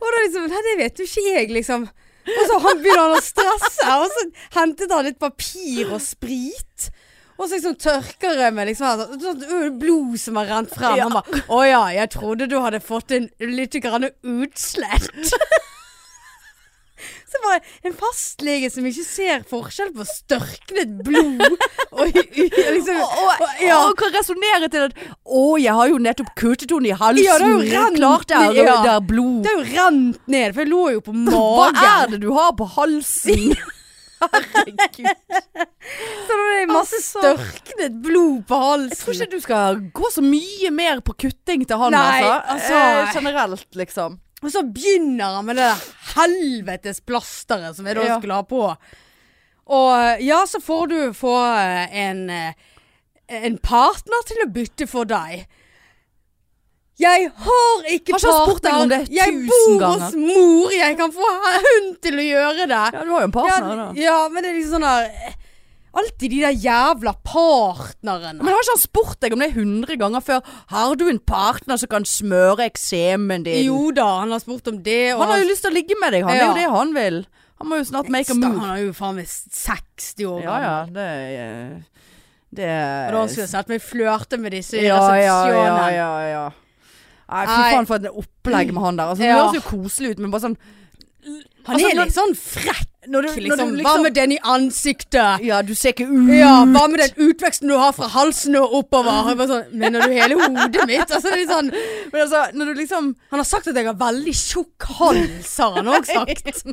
S2: og da liksom Nei, det vet jo ikke jeg, liksom. Og så han begynner han å stresse, og så hentet han litt papir og sprit. Og så liksom tørker jeg meg liksom her, så- sånn øh, blod som har rent frem.
S1: Ja.
S2: Han bare 'Å ja, jeg trodde du hadde fått en lite grann utslett'. Så bare en fastlege som ikke ser forskjell på størknet blod og u- liksom
S1: Og, og,
S2: ja.
S1: og kan resonnere til at Å, jeg har jo nettopp kuttet henne i halsen.
S2: Ja, det er jo rent
S1: Klart det er,
S2: ned, ja.
S1: det er blod.
S2: Det er jo rent ned, for jeg lå jo på
S1: Hva
S2: magen.
S1: er det du har på halsen? Herregud.
S2: Så det er masse
S1: Altså.
S2: størknet blod på halsen.
S1: Jeg tror ikke du skal gå så mye mer på kutting til han,
S2: Nei,
S1: altså.
S2: altså.
S1: Eh, generelt, liksom.
S2: Og så begynner han med det der helvetes plasteret som jeg da
S1: Ja.
S2: skulle ha på. Og eh, ja, så får du få eh, en, eh, en partner til å bytte for deg. Jeg har ikke
S1: Har ikke han
S2: partner.
S1: spurt deg om det
S2: jeg
S1: tusen
S2: bor
S1: ganger?
S2: hos mor. Jeg kan få hun til å gjøre det.
S1: Ja, du har jo en partner, da.
S2: ja, ja, men det er liksom sånn der eh, Alltid de der jævla partnerne.
S1: Men har ikke han spurt deg om det 100 ganger før? Har du en partner som kan smøre eksemen din?
S2: Jo da, han har spurt om det. og
S1: Han har jo lyst til å ligge med deg, han. Det er
S2: Ja.
S1: jo det han vil. Han må jo snart make a
S2: Sta-
S1: move.
S2: Han er jo faen meg 60 år
S1: Ja ja, det er- Det er-
S2: Og da skulle jeg sett meg flørte med disse i
S1: Ja ja ja.
S2: resepsjonen.
S1: ja, ja. Nei, fy
S2: Nei.
S1: faen for et opplegg med han der. Altså, det
S2: Ja.
S1: høres jo koselig ut, men bare sånn
S2: Han
S1: Altså,
S2: er
S1: når-
S2: litt sånn frekk,
S1: når du, når
S2: liksom.
S1: du
S2: Hva med den i ansiktet?
S1: Ja, du ser ikke ut.
S2: Ja, hva med den utveksten du har fra halsen og oppover? Jeg bare sånn, Mener du hele hodet mitt? Altså, det er sånn,
S1: Men altså, når du liksom
S2: han har sagt at jeg har veldig tjukk hals, har han òg sagt.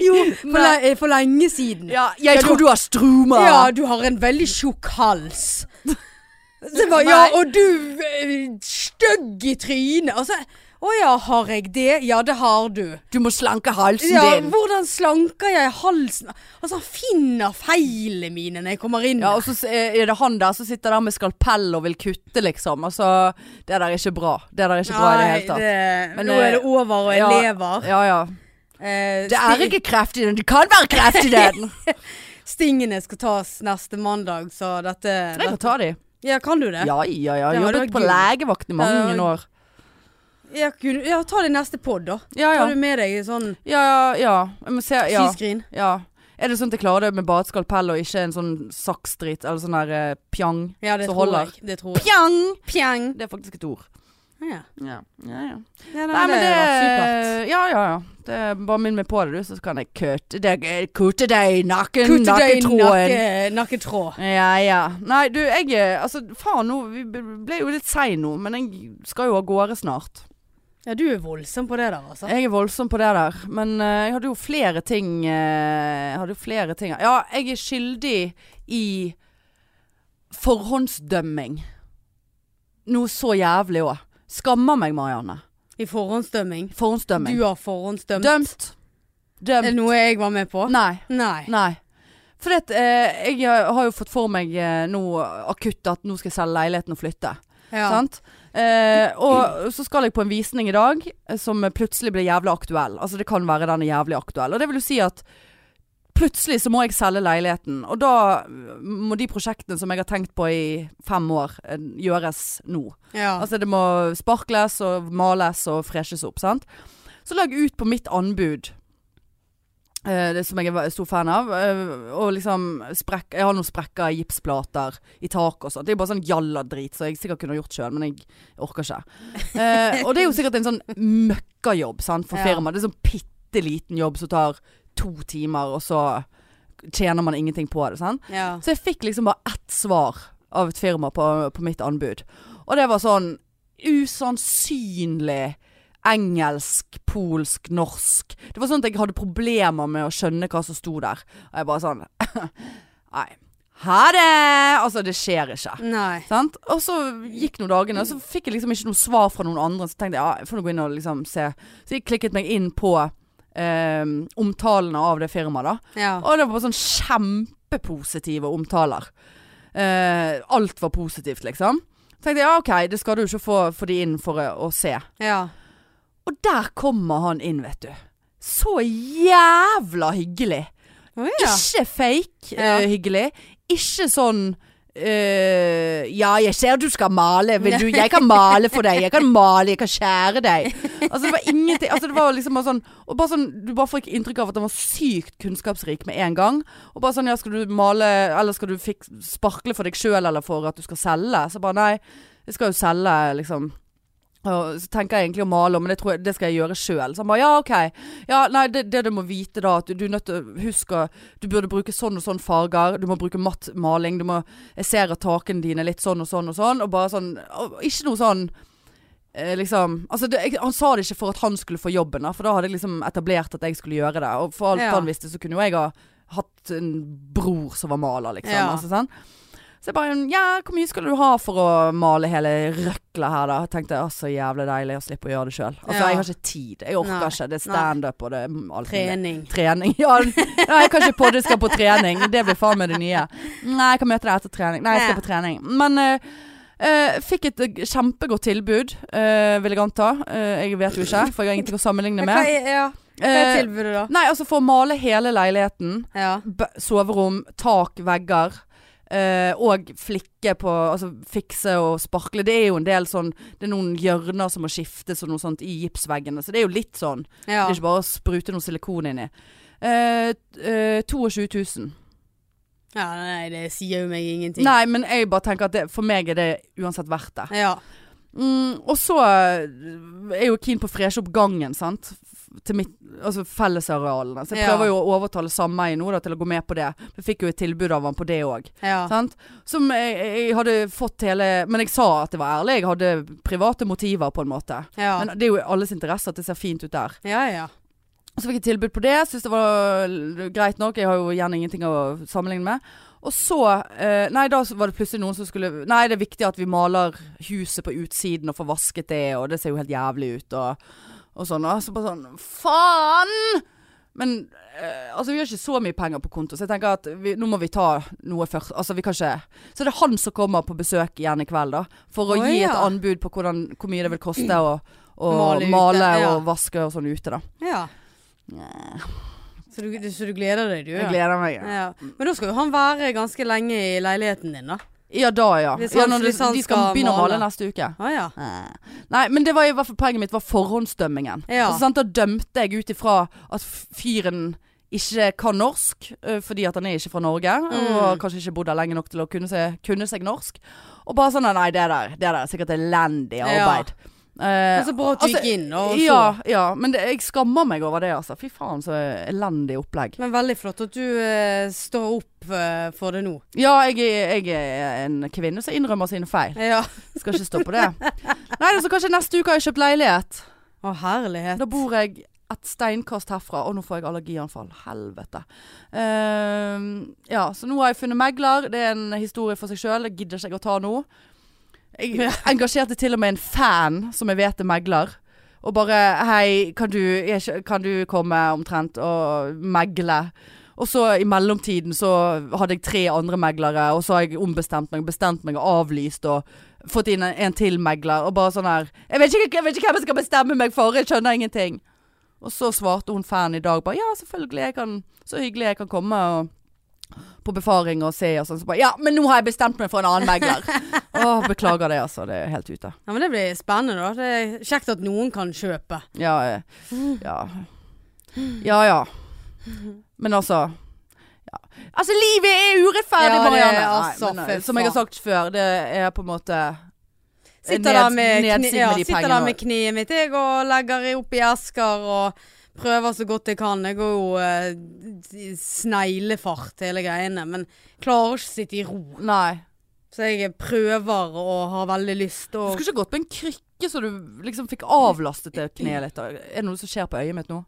S2: Jo, for,
S1: Nei.
S2: le for lenge siden.
S1: Ja, jeg tror du har struma.
S2: Ja, du har en veldig tjukk hals. Så jeg bare, ja,
S1: Nei.
S2: og du eh, stygg i trynet. Og så Å ja, har jeg det? Ja, det har du.
S1: Du må slanke halsen
S2: Ja,
S1: din.
S2: hvordan slanker jeg halsen? Altså, han finner feilene mine når jeg kommer inn.
S1: Ja, og så s- eh, er det han der som sitter der med skalpell og vil kutte, liksom. Altså, det der er ikke bra. Det der er ikke bra i det hele tatt. Men,
S2: nå er det
S1: eh,
S2: over, og jeg
S1: ja,
S2: lever.
S1: Ja, ja.
S2: Eh,
S1: Det er
S2: sti-
S1: ikke kreft i den. Det kan være kreft i den.
S2: Stingene skal tas neste mandag, så dette
S1: Jeg kan ta de.
S2: Ja, kan du det?
S1: Ja, ja, ja.
S2: Ja, det
S1: Jobbet
S2: var
S1: på
S2: gøy.
S1: legevakt i mange
S2: Ja,
S1: år.
S2: Ja, kun- ja ta det i neste pod, da.
S1: Ja,
S2: Tar
S1: ja.
S2: du med deg sånn
S1: Ja, ja. Jeg må se, ja.
S2: skiscreen?
S1: ja. Er det sånn at jeg klarer det med bare et skalpell og ikke en sånn saksdrit eller sånn der eh, pjang?
S2: Ja, det
S1: Så
S2: tror
S1: holder.
S2: jeg. Det tror jeg.
S1: Pjang!
S2: Pjang!
S1: Det er faktisk et ord.
S2: Ja.
S1: Ja, ja, ja.
S2: Ja,
S1: Nei, men det,
S2: var supert.
S1: Ja, ja, ja. Det er bare minn meg på det, du, så kan jeg kutte deg Kutte deg i nakken,
S2: Kutte deg i
S1: nakketråden.
S2: nakke- nakketråd.
S1: Ja, ja. Nei, du, jeg eh, Altså, faen nå. Vi ble jo litt sein nå, men jeg skal jo av gårde snart.
S2: Ja, du er voldsom på det der, altså.
S1: Jeg er voldsom på det der. Men eh, jeg hadde jo flere ting eh, Jeg hadde jo flere ting Ja, jeg er skyldig i forhåndsdømming. Noe så jævlig òg. Skammer meg, Marianne.
S2: I forhåndsdømming.
S1: Forhåndsdømming.
S2: Du har forhåndsdømt.
S1: Dømt.
S2: Er det
S1: Dømt.
S2: noe jeg var med på?
S1: Nei.
S2: Nei.
S1: Nei. For det, at, eh, jeg har jo fått for meg eh, nå akutt at nå skal jeg selge leiligheten og flytte.
S2: Ja.
S1: Sant? Eh, og så skal jeg på en visning i dag eh, som plutselig blir jævlig aktuell. Altså det kan være den er jævlig aktuell. Og det vil jo si at Plutselig så må jeg selge leiligheten, og da må de prosjektene som jeg har tenkt på i fem år, eh, gjøres nå.
S2: Ja.
S1: Altså det må sparkles og males og freshes opp, sant? Så la jeg ut på mitt anbud. eh, Det som jeg er stor fan av. eh, Og liksom sprekk, Jeg har noen sprekker i gipsplater i taket og sånt. Det er jo bare sånn jalladrit som jeg sikkert kunne gjort sjøl, men jeg orker ikke. Eh, og det er jo sikkert en sånn møkkajobb sant, for
S2: Ja.
S1: firmaet. Det er sånn bitte liten jobb som tar to timer, og så tjener man ingenting på det. Sant?
S2: ja.
S1: Så jeg fikk liksom bare ett svar av et firma på, på mitt anbud. Og det var sånn usannsynlig engelsk, polsk, norsk. Det var sånn at jeg hadde problemer med å skjønne hva som sto der. Og jeg bare sånn Nei. Ha det! Altså, det skjer ikke.
S2: Nei.
S1: Sant? Og så gikk noen dagene, og så fikk jeg liksom ikke noe svar fra noen andre. Så tenkte jeg ja, jeg får nå gå inn og liksom se. Så jeg klikket meg inn på eh, omtalene av det firmaet, da.
S2: Ja.
S1: Og det var bare sånn kjempepositive omtaler. Eh, alt var positivt, liksom. Så tenkte jeg ja, OK, det skal du ikke få, få de inn for å, å se.
S2: Ja.
S1: Og der kommer han inn, vet du. Så jævla hyggelig.
S2: Å ja.
S1: Ikke fake
S2: Ja.
S1: eh, hyggelig. Ikke sånn eh, ja, jeg ser du skal male. Vil du, jeg kan male for deg. Jeg kan male, jeg kan skjære deg. Altså, det var ingenting altså, det var liksom bare sånn, og bare sånn Du bare fikk inntrykk av at han var sykt kunnskapsrik med en gang. Og bare sånn Ja, skal du male, eller skal du fik, sparkle for deg sjøl, eller for at du skal selge? Så bare nei, jeg skal jo selge, liksom. Og så tenker jeg egentlig å male, men det, tror jeg, det skal jeg gjøre sjøl. Så han bare ja, OK. Ja, nei, det, det du må vite da, at du, du er nødt til å huske å- Du burde bruke sånn og sånn farger. Du må bruke matt maling. Du må Jeg ser at takene dine er litt sånn og sånn og sånn. Og bare sånn og Ikke noe sånn eh, liksom altså det, jeg, Han sa det ikke for at han skulle få jobben, da, for da hadde jeg liksom etablert at jeg skulle gjøre det. Og for alt
S2: Ja.
S1: han visste, så kunne jo jeg ha hatt en bror som var maler, liksom.
S2: Ja.
S1: Altså, sant? Så jeg bare Ja, hvor mye skal du ha for å male hele røkla her, da? Tenkte jeg, «Å, så jævlig deilig å slippe å gjøre det sjøl. Altså,
S2: Ja.
S1: jeg har ikke tid. Jeg orker
S2: Nei.
S1: ikke. Det er standup og det er alt mulig.
S2: Trening.
S1: Trening. Ja, nei, jeg kan ikke podde skal på trening. Det blir faen meg det nye. Nei, jeg kan møte deg etter trening. Nei, jeg skal på trening. Men eh, eh, fikk et eh, kjempegodt tilbud, eh, vil jeg anta. Eh, jeg vet jo ikke, for jeg har ingenting å sammenligne
S2: Hva
S1: med.
S2: er, ja. Hva er
S1: Eh,
S2: tilbudet, da?
S1: nei, altså for å male hele leiligheten.
S2: Ja.
S1: B soverom, tak, vegger. eh, og flikke på Altså fikse og sparkle. Det er jo en del sånn Det er noen hjørner som må skiftes og noe sånt i gipsveggene. Så det er jo litt sånn.
S2: ja.
S1: Det er ikke bare å sprute noe silikon inni. Eh, eh, 22 000.
S2: ja. Nei, det sier jo meg ingenting.
S1: Nei, men jeg bare tenker at det, for meg er det uansett verdt det.
S2: Ja.
S1: Mm, og så eh, er jeg jo keen på å freshe opp gangen, sant. F- Til mitt, altså fellesarealene. Så jeg
S2: Ja.
S1: prøver jo å overtale sameiet nå da, til å gå med på det. Jeg fikk jo et tilbud av han på det òg.
S2: Ja.
S1: Sant? Som jeg, jeg hadde fått hele Men jeg sa at det var ærlig. Jeg hadde private motiver, på en måte.
S2: Ja.
S1: Men det er jo i alles interesse at det ser fint ut der.
S2: ja, ja.
S1: Så fikk jeg tilbud på det. Syns det var l- greit nok. Jeg har jo gjerne ingenting å sammenligne med. Og så eh, Nei, da var det plutselig noen som skulle Nei, det er viktig at vi maler huset på utsiden og får vasket det, og det ser jo helt jævlig ut, og, og sånn. Og så bare sånn Faen! Men eh, altså, vi har ikke så mye penger på konto, så jeg tenker at vi, nå må vi ta noe først. Altså, vi kan ikke Så det er han som kommer på besøk igjen i kveld, da. For å
S2: Å,
S1: gi et
S2: ja. Mm.
S1: anbud på hvordan, hvor mye det vil koste å, å
S2: Male
S1: male,
S2: ute, ja.
S1: og vaske og sånn ute, da.
S2: ja. Så, du, du, så du gleder deg, du?
S1: Jeg
S2: ja.
S1: gleder meg. Ja,
S2: Ja. Men da skal jo han være ganske lenge i leiligheten din, da.
S1: ja da, ja.
S2: Hvis
S1: ja
S2: han-
S1: når de,
S2: hvis han
S1: de skal
S2: skal
S1: begynne å
S2: male.
S1: male neste uke.
S2: Å ja.
S1: Nei, men det var i hvert fall poenget mitt var forhåndsdømmingen.
S2: Ja.
S1: Altså, sant? Da dømte jeg ut ifra at f- fyren ikke kan norsk, øh, fordi at han er ikke fra Norge,
S2: Mm.
S1: og har kanskje ikke bodd her lenge nok til å kunne seg, kunne seg norsk. Og bare sånn Nei, det der, det der er sikkert elendig arbeid. Eh,
S2: Men så bra at du gikk inn, og så.
S1: Ja, ja, men det, jeg skammer meg over det, altså. Fy faen, så elendig opplegg.
S2: Men veldig flott at du eh, står opp eh, for det nå.
S1: Ja, jeg, er- jeg er en kvinne som innrømmer sine feil.
S2: Ja.
S1: Skal ikke stå på det. Nei, så kanskje neste uke har jeg kjøpt leilighet.
S2: Å herlighet.
S1: Da bor jeg et steinkast herfra, og nå får jeg allergianfall. Helvete. Ehm, ja, så nå har jeg funnet megler. Det er en historie for seg sjøl. Det gidder ikke jeg å ta nå. Jeg engasjerte til og med en fan som jeg vet er megler. Og bare 'Hei, kan du, er ikke- kan du komme omtrent og megle?' Og så i mellomtiden så hadde jeg tre andre meglere, og så har jeg ombestemt meg, bestemt meg og avlyst og fått inn en, en til megler. Og bare sånn her 'Jeg vet ikke, jeg vet ikke hvem jeg skal bestemme meg for, jeg skjønner ingenting'. Og så svarte hun fan i dag bare ja, selvfølgelig, jeg kan, så hyggelig jeg kan komme og på befaring og se og sånn. Så bare ja, men nå har jeg bestemt meg for en annen megler. Åh, beklager det, altså. Det er helt ute.
S2: Ja, men det blir spennende, da. Det er kjekt at noen kan kjøpe.
S1: Ja, eh, ja. Ja ja. Men altså ja. Altså, livet er urettferdig,
S2: Ja, det er
S1: Marianne! Nei,
S2: altså,
S1: men,
S2: fy
S1: eh, som jeg har
S2: faen.
S1: sagt før, det er på en måte
S2: Sitter
S1: Ned-
S2: der med, kni,
S1: nedsig med
S2: ja,
S1: de
S2: sitter
S1: pengene.
S2: der med knivet mitt jeg, og legger i opp i esker og prøver så godt jeg kan. Jeg går jo eh, i sneglefart hele greiene, men klarer ikke å sitte i ro.
S1: Nei.
S2: Så jeg prøver og har veldig lyst
S1: Du
S2: og
S1: skulle ikke gått på en krykke så du liksom fikk avlastet det kneet litt. da. Er det noe som skjer på øyet mitt nå?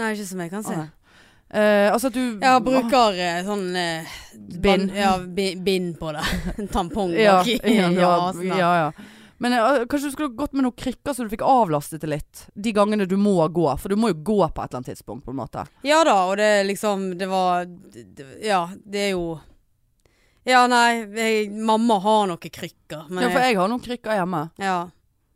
S2: Nei, ikke som jeg kan se.
S1: Å, nei. Eh, altså at du
S2: Ja, bruker eh, sånn eh,
S1: Bind.
S2: ban- Ja, bi- bind på det. En tampong
S1: Ja,
S2: bak i.
S1: ja, ja,
S2: asen der.
S1: ja, ja. Men eh, kanskje du skulle gått med noen krykker så du fikk avlastet det litt. De gangene du må gå. For du må jo gå på et eller annet tidspunkt, på en måte.
S2: Ja da, og det er liksom Det var det, det- Ja, det er jo Ja, nei, jeg, mamma har noen krykker, men
S1: Ja, for
S2: jeg,
S1: jeg har noen krykker hjemme,
S2: ja,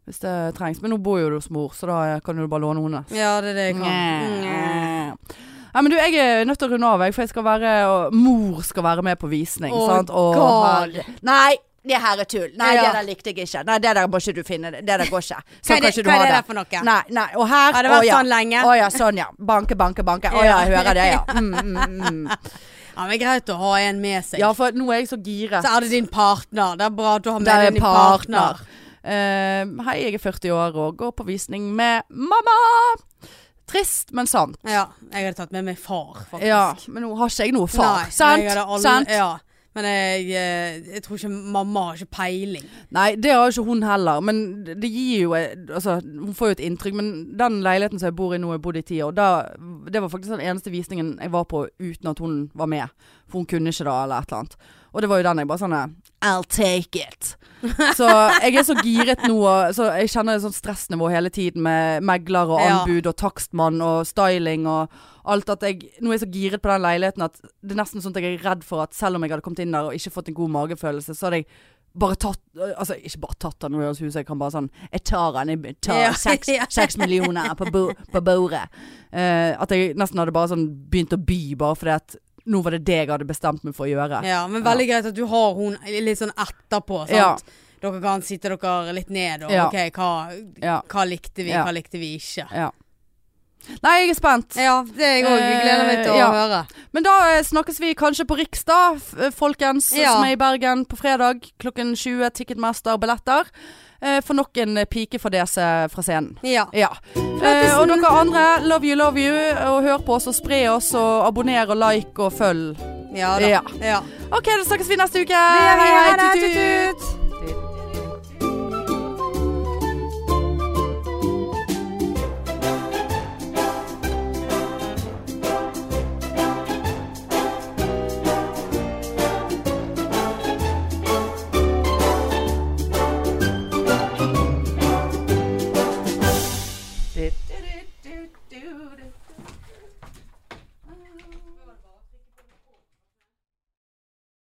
S1: hvis det trengs. Men nå bor jo du hos mor, så da eh, kan du bare låne hennes.
S2: ja, det er det jeg kan. Mm. Nye.
S1: Nei, men du, jeg er nødt til å runde av, jeg, for jeg skal være og Mor skal være med på visning.
S2: Å,
S1: sant? Og
S2: gal.
S1: her- Nei, det her er tull. Nei,
S2: Ja.
S1: det der likte jeg ikke. Nei, det der må ikke du finne. Det der går ikke.
S2: Hva er
S1: Sånn kan
S2: det,
S1: ikke du
S2: hva
S1: ha
S2: er det
S1: det.
S2: der for noe?
S1: Nei, nei. Og her
S2: Har det
S1: å,
S2: vært
S1: ja.
S2: sånn lenge?
S1: Å ja, sånn ja. Banke, banke, banke. Å ja, jeg hører det, ja. Mm, mm, mm.
S2: Ja, men Greit å ha en med seg.
S1: Ja, for nå er jeg så giret.
S2: Så er det din partner. Det er bra at du har med
S1: Det er
S2: deg din partner.
S1: Eh, hei, jeg er 40 år og går på visning med mamma. Trist, men sant.
S2: Ja, jeg hadde tatt med meg far, faktisk.
S1: Ja, men nå har ikke jeg noe far.
S2: Nei,
S1: sant?
S2: jeg hadde alle-
S1: sant?
S2: Ja, men jeg, eh, jeg tror ikke mamma har ikke peiling.
S1: Nei, det har jo ikke hun heller, men det gir jo Altså, hun får jo et inntrykk, men den leiligheten som jeg bor i nå, jeg bodde i ti år, da, det var faktisk den eneste visningen jeg var på uten at hun var med. For hun kunne ikke da, eller et eller annet. Og det var jo den jeg bare sånn I'll take it. Så jeg er så giret nå, og så jeg kjenner et sånt stressnivå hele tiden med megler og
S2: Ja.
S1: anbud og takstmann og styling og alt at jeg Nå er jeg så giret på den leiligheten at det er nesten sånn at jeg er redd for at selv om jeg hadde kommet inn der og ikke fått en god magefølelse, så hadde jeg bare tatt Altså, ikke bare tatt den ut av huset, jeg kan bare sånn Jeg tar den, jeg
S2: Ja.
S1: tar seks seks millioner på, bo, på bordet. Eh, at jeg nesten hadde bare sånn begynt å by, bare fordi at nå var det det jeg hadde bestemt meg for å gjøre.
S2: Ja, men veldig greit at du har hun litt sånn etterpå, sant?
S1: Ja.
S2: Dere kan sitte dere litt ned og
S1: Ja.
S2: OK, hva,
S1: Ja.
S2: hva likte vi,
S1: Ja.
S2: hva likte vi ikke?
S1: Ja. Nei, jeg er spent.
S2: Ja, det er jeg òg. Gleder meg til å
S1: Eh, ja.
S2: høre.
S1: Men da eh, snakkes vi kanskje på Riks, da, f- eh, folkens,
S2: Ja.
S1: som er i Bergen på fredag klokken 20. Ticketmaster billetter. Eh, for nok en eh, pikefadese fra scenen.
S2: Ja.
S1: Ja. Eh, og dere andre, love you, love you. Og hør på oss, og spre oss, og abonner og like og følg.
S2: Ja da.
S1: Ja.
S2: Ja.
S1: OK, da snakkes vi neste uke.
S2: gjør vi. Ha det.
S1: Tut-tut.
S2: Tut-tut.